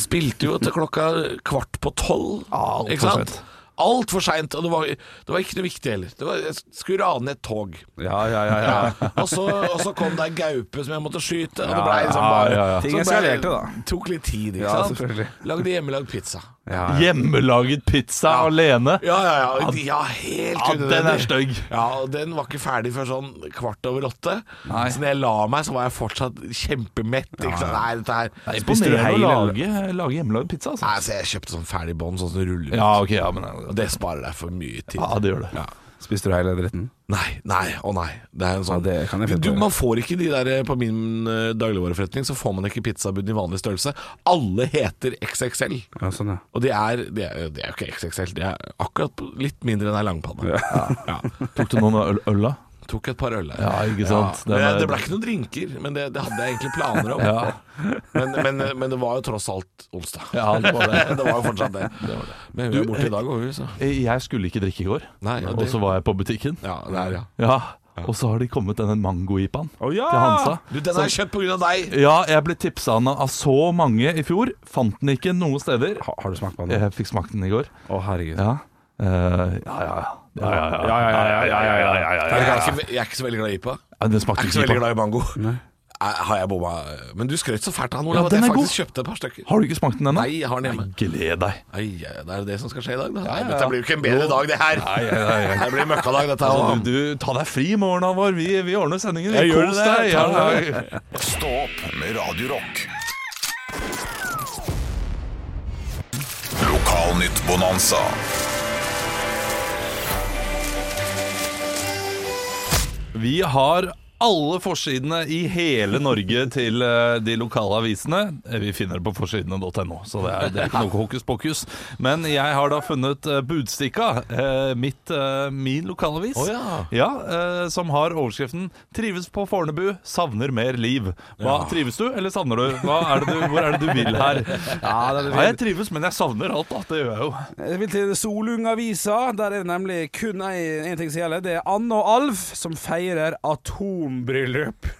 [SPEAKER 3] Spilte jo til klokka kvart på tolv.
[SPEAKER 5] Ja, Mhm. alt
[SPEAKER 3] ikke
[SPEAKER 5] for
[SPEAKER 3] sant?
[SPEAKER 5] sent.
[SPEAKER 3] Alt for seint. Og det var, det var ikke noe viktig heller. Det var, jeg skulle rane et tog.
[SPEAKER 4] Ja, ja, ja. ja.
[SPEAKER 3] Og, så, og så kom det ei gaupe som jeg måtte skyte, og det
[SPEAKER 4] Ja, Sånn
[SPEAKER 3] blei liksom
[SPEAKER 5] ja,
[SPEAKER 3] bare
[SPEAKER 5] ja, ja.
[SPEAKER 3] så
[SPEAKER 4] Ting
[SPEAKER 3] ble-
[SPEAKER 4] eskalerte, da.
[SPEAKER 3] Tok litt tid, ikke
[SPEAKER 4] Ja, selvfølgelig.
[SPEAKER 3] sant. Lagde hjemmelagd pizza.
[SPEAKER 4] ja, ja.
[SPEAKER 5] Hjemmelaget pizza alene?
[SPEAKER 3] Ja, ja, ja. ja helt
[SPEAKER 5] Ja,
[SPEAKER 3] unødvendig.
[SPEAKER 5] den er stygg.
[SPEAKER 3] Ja, og den var ikke ferdig før sånn kvart over åtte.
[SPEAKER 5] Nei.
[SPEAKER 3] Så når jeg la meg, så var jeg fortsatt kjempemett. Ikke sant? Nei, dette her
[SPEAKER 5] Det er
[SPEAKER 4] Spiste du
[SPEAKER 5] Imponerende å
[SPEAKER 4] hele-
[SPEAKER 5] lage, lage hjemmelagd pizza, altså.
[SPEAKER 3] Nei, så jeg kjøpte sånn ferdig bånd, sånn som ruller ut.
[SPEAKER 5] Ja, ok, ja, men
[SPEAKER 3] Og det sparer deg for mye tid.
[SPEAKER 5] ja, det gjør det.
[SPEAKER 4] Spiste du hele dritten?
[SPEAKER 3] Nei, nei, å nei. Det er en sånn
[SPEAKER 4] Ja, det kan jeg finne
[SPEAKER 3] du,
[SPEAKER 4] på.
[SPEAKER 3] Man får ikke de der eh, På min eh, dagligvareforretning så får man ikke pizzabunn i vanlig størrelse. Alle heter XXL.
[SPEAKER 4] Ja, sånn, ja.
[SPEAKER 3] Og de er, de er, de er jo ikke XXL, de er akkurat på- litt mindre enn ei langpanne. Ja.
[SPEAKER 5] Tok du noen øl, øl da?
[SPEAKER 3] Tok et par øl der.
[SPEAKER 5] Ja, ikke sant.
[SPEAKER 3] Ja,
[SPEAKER 5] Den
[SPEAKER 3] men
[SPEAKER 5] er-
[SPEAKER 3] det ble ikke noen drinker, men det, det hadde jeg egentlig planer om.
[SPEAKER 5] Ja.
[SPEAKER 3] Men, men, men det var jo tross alt onsdag.
[SPEAKER 5] Ja, det var det.
[SPEAKER 3] Det var jo fortsatt det. Men hun er borte i dag òg, hun, så.
[SPEAKER 5] Eh, Jeg skulle ikke drikke i går,
[SPEAKER 3] Nei, ja,
[SPEAKER 5] og
[SPEAKER 3] det-
[SPEAKER 5] så var jeg på butikken.
[SPEAKER 3] Ja, der, ja.
[SPEAKER 5] Ja, og så har de kommet denne mango-ipaen
[SPEAKER 4] Å, ja!
[SPEAKER 5] til Hansa.
[SPEAKER 3] Du, den har jeg kjøpt pga. deg!
[SPEAKER 5] Ja, jeg ble tipsa av av så mange i fjor. Fant den ikke noen steder.
[SPEAKER 4] Ha, har du smakt på den? Å,
[SPEAKER 5] Jeg fikk smakt den i går.
[SPEAKER 4] herregud.
[SPEAKER 5] Ja. Eh, ja, ja, ja. Ja, ja, ja.
[SPEAKER 4] ja, ja, ja, ja, ja, ja, ja, ja, ja.
[SPEAKER 3] Jeg er, ikke, jeg er ikke så veldig glad i IPA.
[SPEAKER 5] Ja, Den
[SPEAKER 3] Jeg
[SPEAKER 5] smakte
[SPEAKER 3] er
[SPEAKER 5] ikke
[SPEAKER 3] ikke så veldig
[SPEAKER 5] IPA.
[SPEAKER 3] glad i mango. Er- Har jeg bomma Men du skrøt så fælt av den, Olav,
[SPEAKER 5] Ja,
[SPEAKER 3] at
[SPEAKER 5] den
[SPEAKER 3] jeg
[SPEAKER 5] er god.
[SPEAKER 3] faktisk kjøpte et par stykker.
[SPEAKER 5] Har du ikke smakt den ennå?
[SPEAKER 3] Nei, jeg har den hjemme.
[SPEAKER 5] Gled deg.
[SPEAKER 3] Ai, ai, det er det som skal skje i dag, da.
[SPEAKER 5] ja, ja.
[SPEAKER 3] Nei, dette blir jo ikke en bedre dag, det her. Det blir møkkadag, dette
[SPEAKER 5] Altså,
[SPEAKER 3] òg.
[SPEAKER 5] du, du, ta deg fri i morgen, Halvor. Vi, vi ordner sendingen.
[SPEAKER 3] Jeg gjør
[SPEAKER 5] Kos
[SPEAKER 3] det,
[SPEAKER 5] deg.
[SPEAKER 3] ta
[SPEAKER 5] Ja,
[SPEAKER 3] deg.
[SPEAKER 5] ja.
[SPEAKER 1] Stå opp med Radio Rock. Lokalnytt Bonanza.
[SPEAKER 5] Vi har alle forsidene i hele Norge til eh, de lokale avisene. Eh, Vi finner det på forsidene.no, så det er, det er ikke noe hokus pokus. Men jeg har da funnet eh, Budstikka, eh, mitt, eh, min lokalavis,
[SPEAKER 3] Å ja.
[SPEAKER 5] Ja, eh, som har overskriften 'Trives på Fornebu, savner mer liv'. Hva Trives du, eller savner du? Hva er det du hvor er det du vil her? Ja, jeg trives, men jeg savner alt, da. Det gjør jeg jo.
[SPEAKER 4] Jeg vil til Solung-avisa. Der er det nemlig kun én ting som gjelder. Det er Anne og Alf som feirer atombryllup.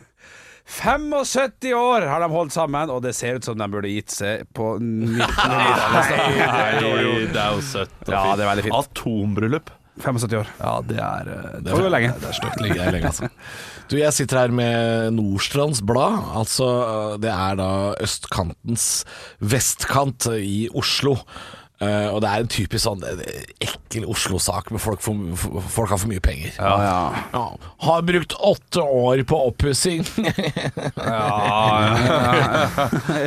[SPEAKER 4] 75 år har de holdt sammen, og det ser ut som de burde gitt seg på 1990.
[SPEAKER 5] Nei, det er jo søtt og
[SPEAKER 4] Ja, det er veldig fint.
[SPEAKER 5] Atombryllup.
[SPEAKER 4] 75 år.
[SPEAKER 5] Ja, det er eh, det
[SPEAKER 4] Det var jo lenge.
[SPEAKER 3] Det er stygt ligge her lenge, altså. Du, jeg sitter her med Nordstrands Blad. Altså, det er da østkantens vestkant i Oslo. Eh, og det er en typisk sånn eh, ekkel Oslo-sak med folk, for, for- folk har for mye penger. Ja. Har brukt åtte år på oppussing.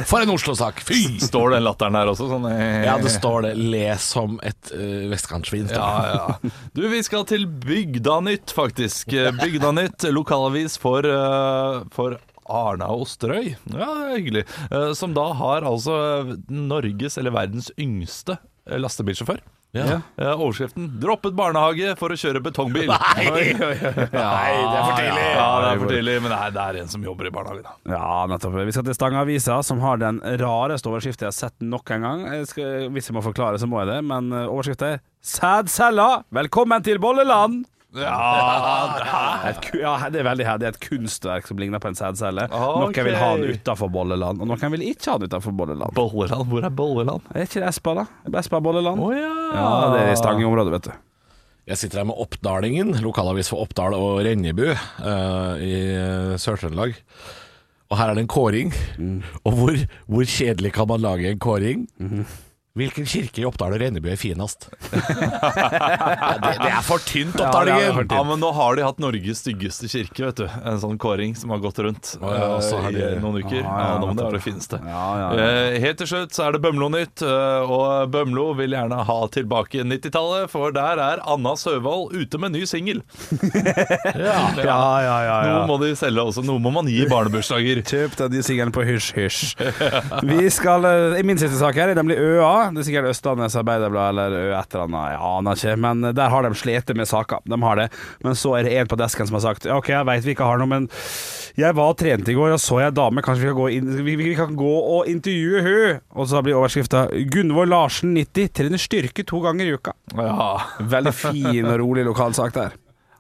[SPEAKER 3] For en Oslo-sak! Fy!
[SPEAKER 5] Står den latteren der også? Sånn, eh,
[SPEAKER 3] Ja, det står det. Les som et eh, vestkantsvin. står det.
[SPEAKER 5] ja, ja. Du, vi skal til Bygdanytt, faktisk. Bygdanytt, lokalavis for, eh, for Arna og Osterøy. Ja, det er hyggelig. Eh, Som da har altså Norges, eller verdens yngste, eh, lastebilsjåfør.
[SPEAKER 3] Ja.
[SPEAKER 5] Eh, Overskriften 'Droppet barnehage for å kjøre betongbil'.
[SPEAKER 3] Nei! Nei, det er for tidlig.
[SPEAKER 5] Ja, det er for tidlig, men nei, det er en som jobber i barnehage, da.
[SPEAKER 4] Ja, nettopp. Vi skal til Stangeavisa, som har den rareste overskriften jeg har sett nok en gang. Jeg skal, hvis jeg må forklare, så må jeg det, men eh, overskriften er 'Sædcella, velkommen til Bolleland'. Et, ku- ja, det er veldig her. Det er et kunstverk som ligner på en sædcelle.
[SPEAKER 5] Ah, Ok.
[SPEAKER 4] Noen vil ha den utafor Bolleland, og noen vil ikke ha den utafor Bolleland.
[SPEAKER 5] Bolleland, hvor er Bolleland?
[SPEAKER 4] Er ikke det Espa, da? Espa Bolleland?
[SPEAKER 5] Å
[SPEAKER 4] ja, det er i Stange-området, vet du.
[SPEAKER 3] Jeg sitter her med Oppdalingen, lokalavis for Oppdal og Rennebu eh, i Sør-Trøndelag. Og her er det en kåring.
[SPEAKER 4] Mm.
[SPEAKER 3] Og hvor, hvor kjedelig kan man lage en kåring?
[SPEAKER 4] Mm-hmm.
[SPEAKER 3] Hvilken kirke i Oppdal og Rennebu er finest? det, det er for tynt,
[SPEAKER 4] Ja, det er for
[SPEAKER 3] Oppdalingen!
[SPEAKER 4] tynt.
[SPEAKER 5] Ja, men nå har de hatt Norges styggeste kirke, vet du. En sånn kåring som har gått rundt
[SPEAKER 3] ja, og så
[SPEAKER 5] eh,
[SPEAKER 3] har
[SPEAKER 5] i
[SPEAKER 3] de-
[SPEAKER 5] noen uker.
[SPEAKER 4] Ja,
[SPEAKER 5] Ja,
[SPEAKER 4] ja,
[SPEAKER 5] da må det
[SPEAKER 4] nettopp.
[SPEAKER 5] være det fineste.
[SPEAKER 4] Ja, ja, ja.
[SPEAKER 5] Eh, Helt til slutt så er det Bømlo-nytt, eh, og Bømlo vil gjerne ha tilbake 90-tallet, for der er Anna Søvold ute med ny singel.
[SPEAKER 4] Ja, ja, ja.
[SPEAKER 5] Noe må de selge også. Noe må man gi i barnebursdager.
[SPEAKER 4] Kjøp deg de singlene på hysj, hysj. Vi skal, eh, I min siste sak her er nemlig ØA. Det er sikkert Østlandets Arbeiderblad eller Ø et eller annet, jeg aner ikke. Men der har de slitt med saker. De har det. Men så er det en på desken som har sagt OK, jeg veit vi ikke har noe, men jeg var og trente i går og så jeg ei dame, kanskje vi kan gå, inn, vi, vi kan gå og intervjue hun Og så blir overskrifta 'Gunvor Larsen 90 trener styrke to ganger i uka'.
[SPEAKER 5] Ja,
[SPEAKER 4] Veldig fin og rolig lokalsak der.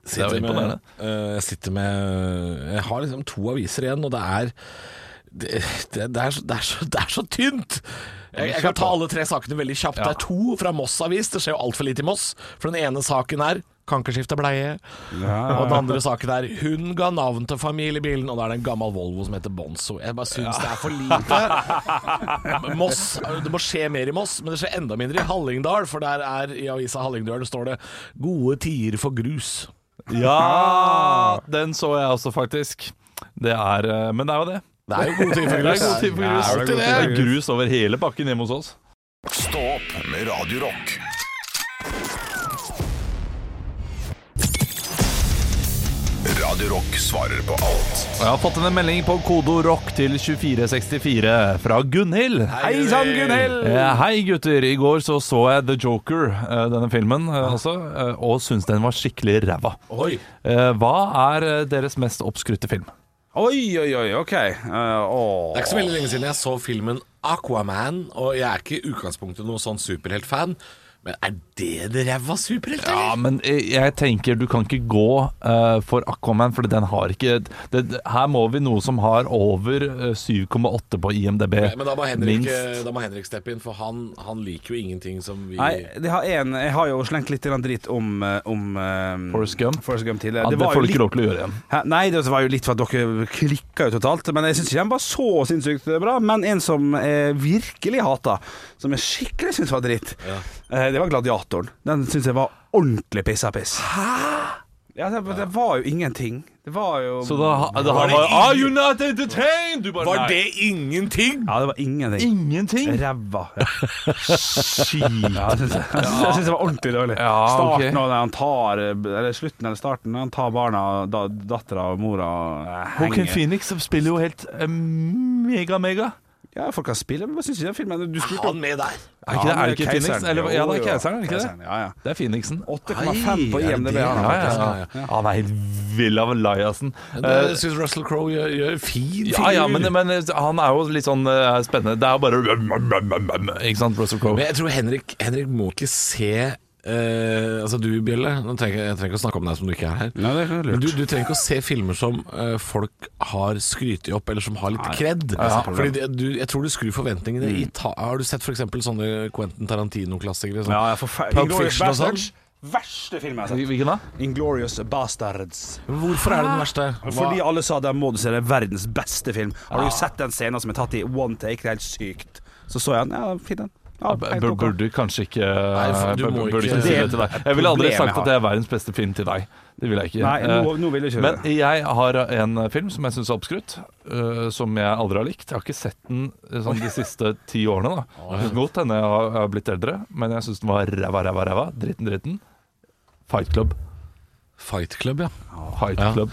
[SPEAKER 5] Det er jo imponerende.
[SPEAKER 3] eh, jeg sitter med Jeg har liksom to aviser igjen, og det er det, det, det, er, så- det, er, så, det er så tynt! Jeg, jeg kan ta alle tre sakene veldig kjapt. Det er to fra Moss Avis. Det skjer jo altfor lite i Moss. For den ene saken er kan ikke skifte bleie. Og den andre saken er hun ga navn til familiebilen, og da er det en gammel Volvo som heter Bonzo. Jeg bare syns det er for lite. Moss, Det må skje mer i Moss, men det skjer enda mindre i Hallingdal. For der er i avisa Hallingdølen står det 'Gode tider for grus'.
[SPEAKER 5] ja den så jeg også, faktisk. Det er eh, Men det er jo det.
[SPEAKER 3] Det er jo god tid for
[SPEAKER 5] Det er god tid for
[SPEAKER 3] Ja, det
[SPEAKER 5] grus.
[SPEAKER 3] er god tid
[SPEAKER 5] Det
[SPEAKER 3] for
[SPEAKER 5] er grus over hele bakken hjemme hos oss.
[SPEAKER 1] Stå opp med Radio Rock. Radio Rock svarer på alt.
[SPEAKER 5] Jeg har fått en melding på Kodo Rock til 2464 fra Gunhild.
[SPEAKER 4] Hei sann, Gunhild!
[SPEAKER 5] Eh, Hei gutter, i går så så jeg The Joker, eh, denne filmen eh, altså, eh, og syntes den var skikkelig ræva.
[SPEAKER 3] Oi,
[SPEAKER 5] Eh, Hva er eh, deres mest oppskrytte film?
[SPEAKER 4] Oi, oi, oi, OK. Uh,
[SPEAKER 3] Det er ikke så veldig lenge siden jeg så filmen Aquaman, og jeg er ikke i utgangspunktet noen sånn superheltfan. Men er det det ræva superhelt, eller?
[SPEAKER 5] Ja, men jeg jeg tenker du kan ikke gå eh, for Aquaman, for den har ikke det, det- Her må vi noe som har over eh, 7,8 på IMDb.
[SPEAKER 3] Nei, men da må, Henrik, eh,
[SPEAKER 5] minst.
[SPEAKER 3] da må Henrik steppe inn, for han, han liker jo ingenting som vi
[SPEAKER 4] Nei, det har en, jeg har jo slengt litt grann dritt om, eh, om eh,
[SPEAKER 5] Forrest Gump?
[SPEAKER 4] Forrest Gump
[SPEAKER 5] Ja,
[SPEAKER 4] tidligere.
[SPEAKER 5] det,
[SPEAKER 4] var
[SPEAKER 5] får
[SPEAKER 4] jo
[SPEAKER 5] du
[SPEAKER 4] litt,
[SPEAKER 5] ikke lov til å gjøre igjen.
[SPEAKER 4] Hæ? Nei, det var jo litt for at dere klikka jo totalt. Men jeg syns ikke den var så sinnssykt bra. Men en som jeg virkelig hata, som jeg skikkelig syns var dritt, eh, det var Gladiatoren. Den syns jeg var ordentlig pissa piss. Hæ? Ja, det, det var jo ingenting. Det var jo
[SPEAKER 5] Så da, ha- da
[SPEAKER 3] Var
[SPEAKER 5] har
[SPEAKER 3] det
[SPEAKER 5] man
[SPEAKER 3] ingen-
[SPEAKER 5] Are you not entertained? Du bare
[SPEAKER 3] Var
[SPEAKER 5] nei.
[SPEAKER 3] det ingenting?!
[SPEAKER 4] Ja, det var ingenting.
[SPEAKER 5] ingenting?
[SPEAKER 4] Ræva. Ja. Ja, jeg syns jeg synes det var ordentlig dårlig.
[SPEAKER 5] Ja, ok.
[SPEAKER 4] Starten og når han tar Eller slutten eller starten, når han tar barna, da, dattera og mora eh,
[SPEAKER 5] Joaquin
[SPEAKER 4] henger.
[SPEAKER 5] Phoenix spiller jo helt eh, mega-mega.
[SPEAKER 4] Ja, folk kan spille, men hva syns du om filmen? Du
[SPEAKER 3] Er
[SPEAKER 4] spurte
[SPEAKER 3] han med der?
[SPEAKER 5] Er ikke det, er det ikke
[SPEAKER 4] keiseren.
[SPEAKER 5] Phoenix? Eller,
[SPEAKER 4] Jo,
[SPEAKER 5] ja, det
[SPEAKER 4] jo,
[SPEAKER 5] er keiseren, er det ikke
[SPEAKER 4] keiseren,
[SPEAKER 5] det?
[SPEAKER 4] Ja, ja.
[SPEAKER 5] Det er Phoenixen.
[SPEAKER 4] 8,5 på
[SPEAKER 3] Hei, er det
[SPEAKER 4] IMDb.
[SPEAKER 3] det?
[SPEAKER 4] har han
[SPEAKER 5] Ja, ja,
[SPEAKER 4] faktisk.
[SPEAKER 5] ja, ja. Han er helt vill av Eliassen.
[SPEAKER 3] Jeg syns eh, Russell Crowe gjør, gjør fin
[SPEAKER 5] Eh, Ja, ja, men,
[SPEAKER 3] figur.
[SPEAKER 5] men han er jo litt sånn eh, spennende. Det er jo bare Ikke sant, Russell
[SPEAKER 3] Men
[SPEAKER 5] Crowe?
[SPEAKER 3] jeg tror Henrik, Henrik må ikke se eh, altså du, Bjelle, nå trenger, jeg- jeg trenger ikke å snakke om deg som du ikke er her.
[SPEAKER 4] Nei, det er lurt.
[SPEAKER 3] Men du, du trenger ikke å se filmer som eh, folk har skrytt i opp, eller som har litt kred.
[SPEAKER 4] Ja, ja.
[SPEAKER 3] Fordi det, du, jeg tror du skrur forventningene i
[SPEAKER 5] Mm.
[SPEAKER 3] ta Har du sett f.eks. sånne Quentin Tarantino-klassikere?
[SPEAKER 4] Ja,
[SPEAKER 3] Sånn?
[SPEAKER 4] ja, for fa-
[SPEAKER 3] Pulp
[SPEAKER 4] Inglourious
[SPEAKER 3] Fiction og sånn.
[SPEAKER 4] Bastards. Verste film jeg har sett.
[SPEAKER 5] Hvilken da?
[SPEAKER 4] Inglorious Bastards.
[SPEAKER 3] Hvorfor er det den verste?
[SPEAKER 4] Fordi alle sa den må du se, det er verdens beste film. Har du sett den scenen som er tatt i one take? Det er helt sykt. Så så jeg den. Ja, fin den. Ja, helt
[SPEAKER 5] Bur-
[SPEAKER 4] ok.
[SPEAKER 5] Burde kanskje ikke
[SPEAKER 3] for du
[SPEAKER 5] bur-
[SPEAKER 3] må
[SPEAKER 5] burde
[SPEAKER 3] ikke-
[SPEAKER 5] ikke si det
[SPEAKER 4] Det
[SPEAKER 5] til deg.
[SPEAKER 4] er
[SPEAKER 5] Jeg ville aldri
[SPEAKER 4] problemet
[SPEAKER 5] sagt
[SPEAKER 4] her.
[SPEAKER 5] at det er verdens beste film til deg. Det ville jeg ikke.
[SPEAKER 4] Nei, nå,
[SPEAKER 5] Eh,
[SPEAKER 4] nå vil jeg ikke
[SPEAKER 5] Men
[SPEAKER 4] det.
[SPEAKER 5] jeg har en film som jeg syns er oppskrytt, øh, som jeg aldri har likt. Jeg har ikke sett den øh, sånn de siste ti årene. da Det kan godt hende jeg har- jeg har blitt eldre, men jeg syns den var ræva, ræva, ræva. Dritten, dritten. Fight Club.
[SPEAKER 3] Fight Club, ja.
[SPEAKER 5] Fight
[SPEAKER 3] Ja.
[SPEAKER 5] Club.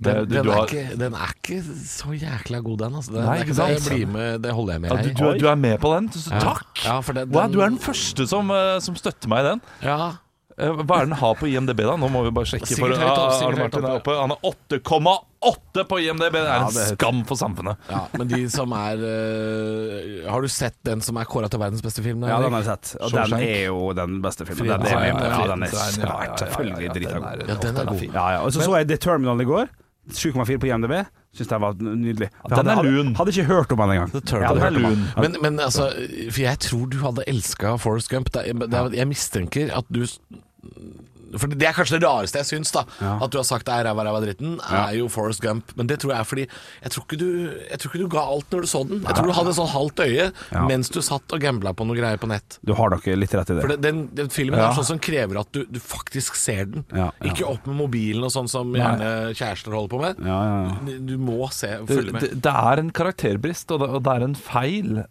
[SPEAKER 5] Det-
[SPEAKER 3] Den,
[SPEAKER 5] du-
[SPEAKER 3] den,
[SPEAKER 5] du
[SPEAKER 3] er
[SPEAKER 5] har-
[SPEAKER 3] ikke, den er ikke så jækla god, den. Altså. Den,
[SPEAKER 5] Nei,
[SPEAKER 3] det er
[SPEAKER 5] ikke
[SPEAKER 3] ikke det,
[SPEAKER 5] sant?
[SPEAKER 3] jeg blir med, det holder jeg med
[SPEAKER 5] ja, du,
[SPEAKER 3] i.
[SPEAKER 5] du, er- du er med på den? Så,
[SPEAKER 3] Ja.
[SPEAKER 5] takk!
[SPEAKER 3] Ja, for den-
[SPEAKER 5] Wow,
[SPEAKER 3] den-
[SPEAKER 5] du er den første som, øh, som støtter meg i den.
[SPEAKER 3] Ja,
[SPEAKER 5] Eh, Hva er det den har på IMDb, da? Nå må vi bare sjekke. For,
[SPEAKER 3] Sikkert høyt opp, sikkert
[SPEAKER 5] Arne
[SPEAKER 3] høyt
[SPEAKER 5] Martin er
[SPEAKER 3] opp,
[SPEAKER 5] oppe. Han er 8,8 på IMDb! Det er
[SPEAKER 4] Ja,
[SPEAKER 5] en
[SPEAKER 4] det er høyt.
[SPEAKER 5] skam for samfunnet.
[SPEAKER 3] ja, men de som er eh, Har du sett den som er kåra til verdens beste film?
[SPEAKER 4] Ja, den
[SPEAKER 3] Henrik?
[SPEAKER 4] har jeg sett. Og den
[SPEAKER 5] Shawshank.
[SPEAKER 4] er jo den beste filmen. Den
[SPEAKER 5] Ja,
[SPEAKER 4] er,
[SPEAKER 5] ja, ja,
[SPEAKER 4] ja, den er
[SPEAKER 5] ja, ja, ja, ja,
[SPEAKER 4] svært selvfølgelig
[SPEAKER 5] ja, den
[SPEAKER 4] drita god.
[SPEAKER 5] er-
[SPEAKER 3] Ja, den er
[SPEAKER 5] ofte
[SPEAKER 3] god.
[SPEAKER 5] fin.
[SPEAKER 4] Ja, ja. Og så så jeg The Terminal i går. 7,4 på IMDb. Syns den var nydelig.
[SPEAKER 5] Ja, den er
[SPEAKER 4] Hadde-
[SPEAKER 5] lun.
[SPEAKER 4] Hadde, hadde ikke hørt om den engang.
[SPEAKER 5] The Turtle
[SPEAKER 4] Jeg hadde
[SPEAKER 5] er
[SPEAKER 4] hørt om den.
[SPEAKER 5] lun.
[SPEAKER 4] Ja,
[SPEAKER 3] Men, men altså, for jeg tror du hadde elska Forrest Gump. Det, er- det, er- jeg mistenker at du For det er kanskje det rareste jeg syns, da.
[SPEAKER 4] Ja.
[SPEAKER 3] At du har sagt det er ræva, ræva dritten, er jo Forrest Gump. Men det tror jeg er fordi jeg tror, ikke du, jeg tror ikke du ga alt når du så den. Jeg tror du hadde sånn halvt øye
[SPEAKER 4] Ja.
[SPEAKER 3] mens du satt og gambla på noe greier på nett.
[SPEAKER 4] Du har nok litt rett i det.
[SPEAKER 3] For det, den, den filmen
[SPEAKER 5] Ja.
[SPEAKER 3] er sånn som krever at du, du faktisk ser den.
[SPEAKER 4] Ja, ja.
[SPEAKER 3] Ikke opp med mobilen og sånn som gjerne kjærester holder på med.
[SPEAKER 4] Ja, ja, ja.
[SPEAKER 3] Du må se,
[SPEAKER 5] Det,
[SPEAKER 3] følge med.
[SPEAKER 5] det, det er en karakterbrist, og det, og det er en feil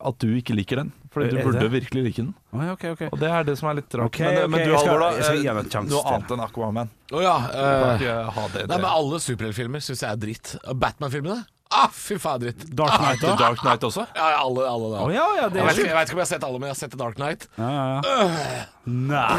[SPEAKER 5] at du ikke liker den. Fordi du
[SPEAKER 4] Er det?
[SPEAKER 5] burde virkelig like den.
[SPEAKER 4] Å, ja, ok, ok.
[SPEAKER 5] Og det er det som er litt rart.
[SPEAKER 4] Ok,
[SPEAKER 5] men, eh,
[SPEAKER 4] ok,
[SPEAKER 5] men du,
[SPEAKER 4] jeg skal-
[SPEAKER 5] Halvor, da.
[SPEAKER 4] jeg skal gi
[SPEAKER 5] eh,
[SPEAKER 4] den en sjanse
[SPEAKER 5] noe
[SPEAKER 4] til.
[SPEAKER 5] annet enn Aquaman.
[SPEAKER 3] Å ja,
[SPEAKER 5] Du kan
[SPEAKER 3] eh,
[SPEAKER 5] ikke ha det,
[SPEAKER 3] Nei,
[SPEAKER 5] det.
[SPEAKER 3] men Alle superheltfilmer syns jeg er dritt. Batman-filmene? Ah, fy faen, dritt.
[SPEAKER 4] Dark Knight, da?
[SPEAKER 5] The Dark Knight også?
[SPEAKER 3] Ja, ja, alle, alle da.
[SPEAKER 4] Å, ja, ja, det
[SPEAKER 3] jeg,
[SPEAKER 4] er
[SPEAKER 3] vet, ikke- jeg vet ikke om jeg har sett alle, men jeg har sett The Dark Knight.
[SPEAKER 4] Ja, ja, ja. Nei.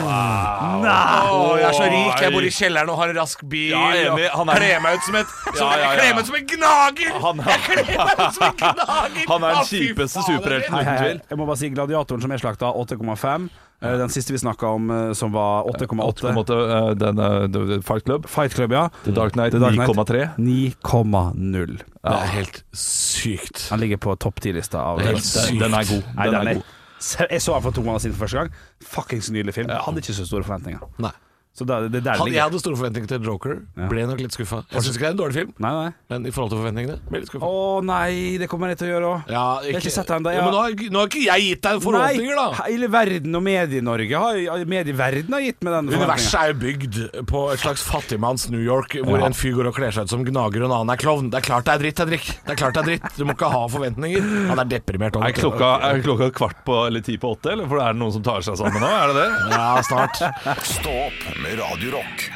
[SPEAKER 4] Nei.
[SPEAKER 3] Å, jeg er så rik, jeg
[SPEAKER 5] Oi.
[SPEAKER 3] bor i kjelleren og har en rask bil.
[SPEAKER 5] Ja, jeg er enig, han er-
[SPEAKER 3] og kler meg ut som et som,
[SPEAKER 5] Ja, ja, ja.
[SPEAKER 3] Jeg kler meg ut som en gnager!
[SPEAKER 5] Han-
[SPEAKER 3] jeg kler meg ut som en gnager!
[SPEAKER 5] Han er den
[SPEAKER 3] Å, fy
[SPEAKER 5] kjipeste
[SPEAKER 3] faen, det er
[SPEAKER 5] superhelten.
[SPEAKER 4] Hei, hei, hei.
[SPEAKER 5] Uten tvil.
[SPEAKER 4] Jeg må bare si Gladiatoren som jeg slakta, 8,5. Eh, Den siste vi snakka om, eh, som var 8,8.
[SPEAKER 5] 8,8. eh, Den, eh, The- The Fight Club.
[SPEAKER 4] Fight Club, ja.
[SPEAKER 5] The Dark Knight
[SPEAKER 4] The Dark Knight.
[SPEAKER 5] 9,3.
[SPEAKER 4] 9,0.
[SPEAKER 3] Det er helt sykt.
[SPEAKER 4] Han ligger på topp 10-lista. av
[SPEAKER 3] Det er
[SPEAKER 5] Den,
[SPEAKER 3] helt sykt.
[SPEAKER 5] den er god.
[SPEAKER 4] Nei,
[SPEAKER 5] Den
[SPEAKER 4] den
[SPEAKER 5] er
[SPEAKER 4] er,
[SPEAKER 5] god.
[SPEAKER 4] Se- jeg så den for to måneder siden for første gang. Fuckings nydelig film. Jeg hadde ikke så store forventninger.
[SPEAKER 3] Nei.
[SPEAKER 4] Så det, det er der det
[SPEAKER 3] Han, jeg
[SPEAKER 4] ligger.
[SPEAKER 3] hadde store forventninger til Joker. Ble nok litt skuffa. Jeg syns ikke det er en dårlig film,
[SPEAKER 4] Nei, nei.
[SPEAKER 3] men i forhold til forventningene ble jeg litt
[SPEAKER 4] Å
[SPEAKER 3] skuffa.
[SPEAKER 4] nei, det kommer jeg til å gjøre òg.
[SPEAKER 3] Ja,
[SPEAKER 4] Jeg har ikke sett den da,
[SPEAKER 3] ja,
[SPEAKER 4] ja.
[SPEAKER 3] men nå har, ikke- nå har ikke jeg gitt deg forhåpninger, da.
[SPEAKER 4] hele verden og medie-Norge har Medieverden har gitt meg den
[SPEAKER 3] Universet
[SPEAKER 4] forventningen.
[SPEAKER 3] er jo bygd på et slags fattigmanns New York, hvor en fyr går og kler seg ut som gnager, og en annen er klovn. Det er klart det er dritt, Henrik. Det er klart det er dritt. Du må ikke ha forventninger. Han er deprimert.
[SPEAKER 5] Er klokka, er klokka kvart på eller ti på åtte, eller for er det noen som tar seg sammen nå? Er det det?
[SPEAKER 3] Ja, snart.
[SPEAKER 1] Stå opp med Radio Rock.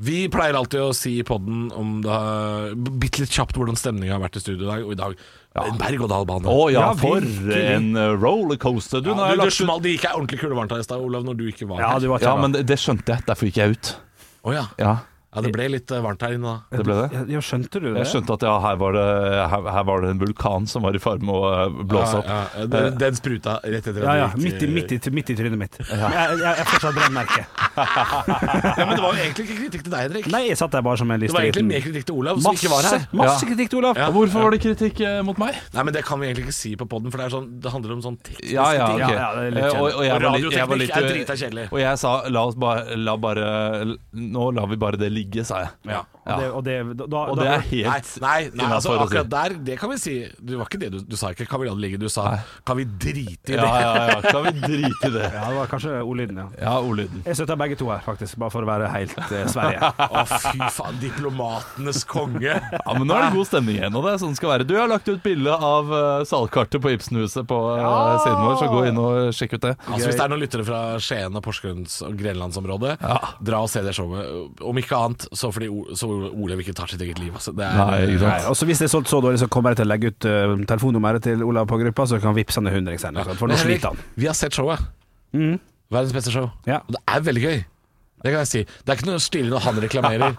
[SPEAKER 3] Vi pleier alltid å si i podden om det har Bitte litt kjapt hvordan stemninga har vært i studio i dag, og i dag en berg-og-dal-bane.
[SPEAKER 5] Å ja,
[SPEAKER 4] Ja,
[SPEAKER 5] for
[SPEAKER 4] virkelig.
[SPEAKER 5] en eh, rollercoaster. Du,
[SPEAKER 3] Du,
[SPEAKER 5] nå har jeg
[SPEAKER 3] du
[SPEAKER 5] lagt ut
[SPEAKER 3] smalt, det gikk jeg ordentlig kulevarmt av i stad, Olav, når du ikke var
[SPEAKER 4] Ja,
[SPEAKER 3] her.
[SPEAKER 4] du var
[SPEAKER 5] Ja,
[SPEAKER 4] kjære.
[SPEAKER 5] men det, det skjønte jeg. Derfor gikk jeg ut.
[SPEAKER 3] Å ja.
[SPEAKER 5] Ja.
[SPEAKER 3] Ja, det ble litt eh, varmt her inne da.
[SPEAKER 5] Det ble det.
[SPEAKER 4] Ja, ja, skjønte du det?
[SPEAKER 5] Jeg skjønte at ja, her var det, her, her var det en vulkan som var i ferd med å eh, blåse opp.
[SPEAKER 3] Ja, ja, den, den spruta rett etter at
[SPEAKER 4] Eh. Ja, ja.
[SPEAKER 3] du gikk
[SPEAKER 4] Midt i, midt i, midt i trynet mitt. Jeg, jeg, jeg fortsatt brennmerke.
[SPEAKER 3] eh, Ja, men det var jo egentlig ikke kritikk til deg, Henrik.
[SPEAKER 4] Nei, jeg satt der bare som en
[SPEAKER 3] Det var egentlig
[SPEAKER 4] listeriten.
[SPEAKER 3] mer kritikk til Olav, som
[SPEAKER 4] Masse,
[SPEAKER 3] ikke var her.
[SPEAKER 4] masse
[SPEAKER 5] Ja.
[SPEAKER 4] kritikk til Olav.
[SPEAKER 3] Ja.
[SPEAKER 5] Hvorfor var det kritikk eh, mot meg?
[SPEAKER 3] Nei, men det kan vi egentlig ikke si på podden, for det, er sånn, det handler om sånn teknisk
[SPEAKER 5] Ja, ja,
[SPEAKER 4] Ja,
[SPEAKER 5] ok.
[SPEAKER 4] ja, det er litt
[SPEAKER 5] Eh, og, og jeg
[SPEAKER 3] Og
[SPEAKER 5] var litt, jeg
[SPEAKER 3] radioteknikk
[SPEAKER 5] var litt eh,
[SPEAKER 3] er drita kjedelig.
[SPEAKER 5] Og jeg sa la oss bare, la bare Nå lar vi bare det ligge, sa jeg.
[SPEAKER 3] Ja.
[SPEAKER 5] Ja.
[SPEAKER 4] Og det, og det, da, da,
[SPEAKER 5] Og det er
[SPEAKER 3] Nei,
[SPEAKER 5] helt
[SPEAKER 3] nei, nei altså,
[SPEAKER 5] innenfor å si.
[SPEAKER 3] akkurat der, det kan vi si. Det var ikke det du, du sa, ikke 'kan vi la det ligge', du sa 'kan vi drite i det'?
[SPEAKER 5] Ja, ja, ja. Kan vi drite i det?
[SPEAKER 4] Ja, det var kanskje ordlyden, ja.
[SPEAKER 5] Ja, ordlyden.
[SPEAKER 4] Jeg støtter begge to her, faktisk, bare for å være helt eh, Sverige.
[SPEAKER 3] Å, fy faen. Diplomatenes konge.
[SPEAKER 5] Ja, men nå er det god stemning igjen, og det er sånn det skal være. Du har lagt ut bilde av eh, salgkartet på Ibsenhuset på eh, siden vår, så gå inn og sjekk ut det.
[SPEAKER 3] Altså Hvis det er noen lyttere fra Skien og Porsgrunns og Grenlandsområdet, dra og se det showet. Om ikke annet, så fordi O- så Olav ikke tar sitt eget liv. Altså. Det er,
[SPEAKER 5] Nei, ikke sant.
[SPEAKER 4] Nei, også Hvis det er solgt så dårlig, så kommer jeg til å legge ut eh, telefonnummeret til Olav på gruppa, så kan vippse han en hundring senere, sant? liksom, for
[SPEAKER 3] Men
[SPEAKER 4] nå
[SPEAKER 3] Henrik,
[SPEAKER 4] sliter han. Mm.
[SPEAKER 3] Vi har sett showet. Verdens beste show.
[SPEAKER 4] Ja.
[SPEAKER 3] Og det er veldig gøy. Det kan jeg si. Det er ikke noe stilig når han reklamerer.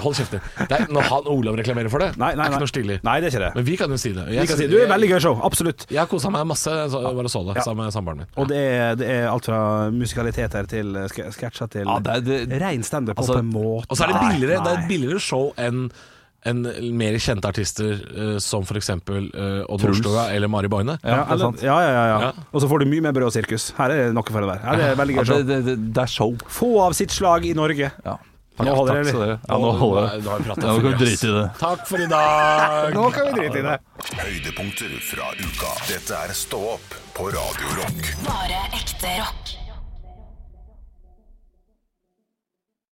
[SPEAKER 3] Hold kjeft. Det er, når han Olav reklamerer for det,
[SPEAKER 4] Nei, nei,
[SPEAKER 3] det er
[SPEAKER 4] nei.
[SPEAKER 3] ikke noe stilig.
[SPEAKER 4] Nei, det er ikke det.
[SPEAKER 3] Men vi kan jo si det.
[SPEAKER 4] Vi kan si, du er veldig gøy show, absolutt.
[SPEAKER 3] Jeg har kosa meg masse så, bare så det
[SPEAKER 4] Ja.
[SPEAKER 3] sammen med samboeren min.
[SPEAKER 4] Og det er, det er alt fra musikaliteter til eh, ske- sketsjer til
[SPEAKER 5] Ja, det er, det,
[SPEAKER 4] Rein standup
[SPEAKER 5] Altså,
[SPEAKER 4] på en måte.
[SPEAKER 3] Og så er det
[SPEAKER 4] Nei,
[SPEAKER 3] billigere, det er et
[SPEAKER 4] nei.
[SPEAKER 3] billigere show enn enn mer kjente artister eh, som f.eks. Uh, Odd Nordstoga eller Mari Boine.
[SPEAKER 4] Ja,
[SPEAKER 5] det er sant.
[SPEAKER 4] eller- ja, ja, ja,
[SPEAKER 3] Ja.
[SPEAKER 4] ja. Og så får du mye mer brød og sirkus. Her er det noe for det der. Her er det veldig
[SPEAKER 5] ja,
[SPEAKER 4] gøy
[SPEAKER 5] det,
[SPEAKER 4] show.
[SPEAKER 5] det, det, det er show.
[SPEAKER 4] Få av sitt slag i Norge.
[SPEAKER 5] Ja.
[SPEAKER 4] Nå holder
[SPEAKER 5] takk
[SPEAKER 4] det,
[SPEAKER 5] skal
[SPEAKER 4] eller?
[SPEAKER 5] dere. Ja, nå holder
[SPEAKER 3] Nei,
[SPEAKER 5] det.
[SPEAKER 3] nå har vi pratet
[SPEAKER 5] Ja, nå
[SPEAKER 3] for
[SPEAKER 5] kan vi
[SPEAKER 3] mye, ass.
[SPEAKER 5] drite i det.
[SPEAKER 3] Takk for i dag!
[SPEAKER 4] Nå kan vi drite i det.
[SPEAKER 1] Høydepunkter fra uka. Dette er Stå opp på Radio Rock.
[SPEAKER 2] Bare ekte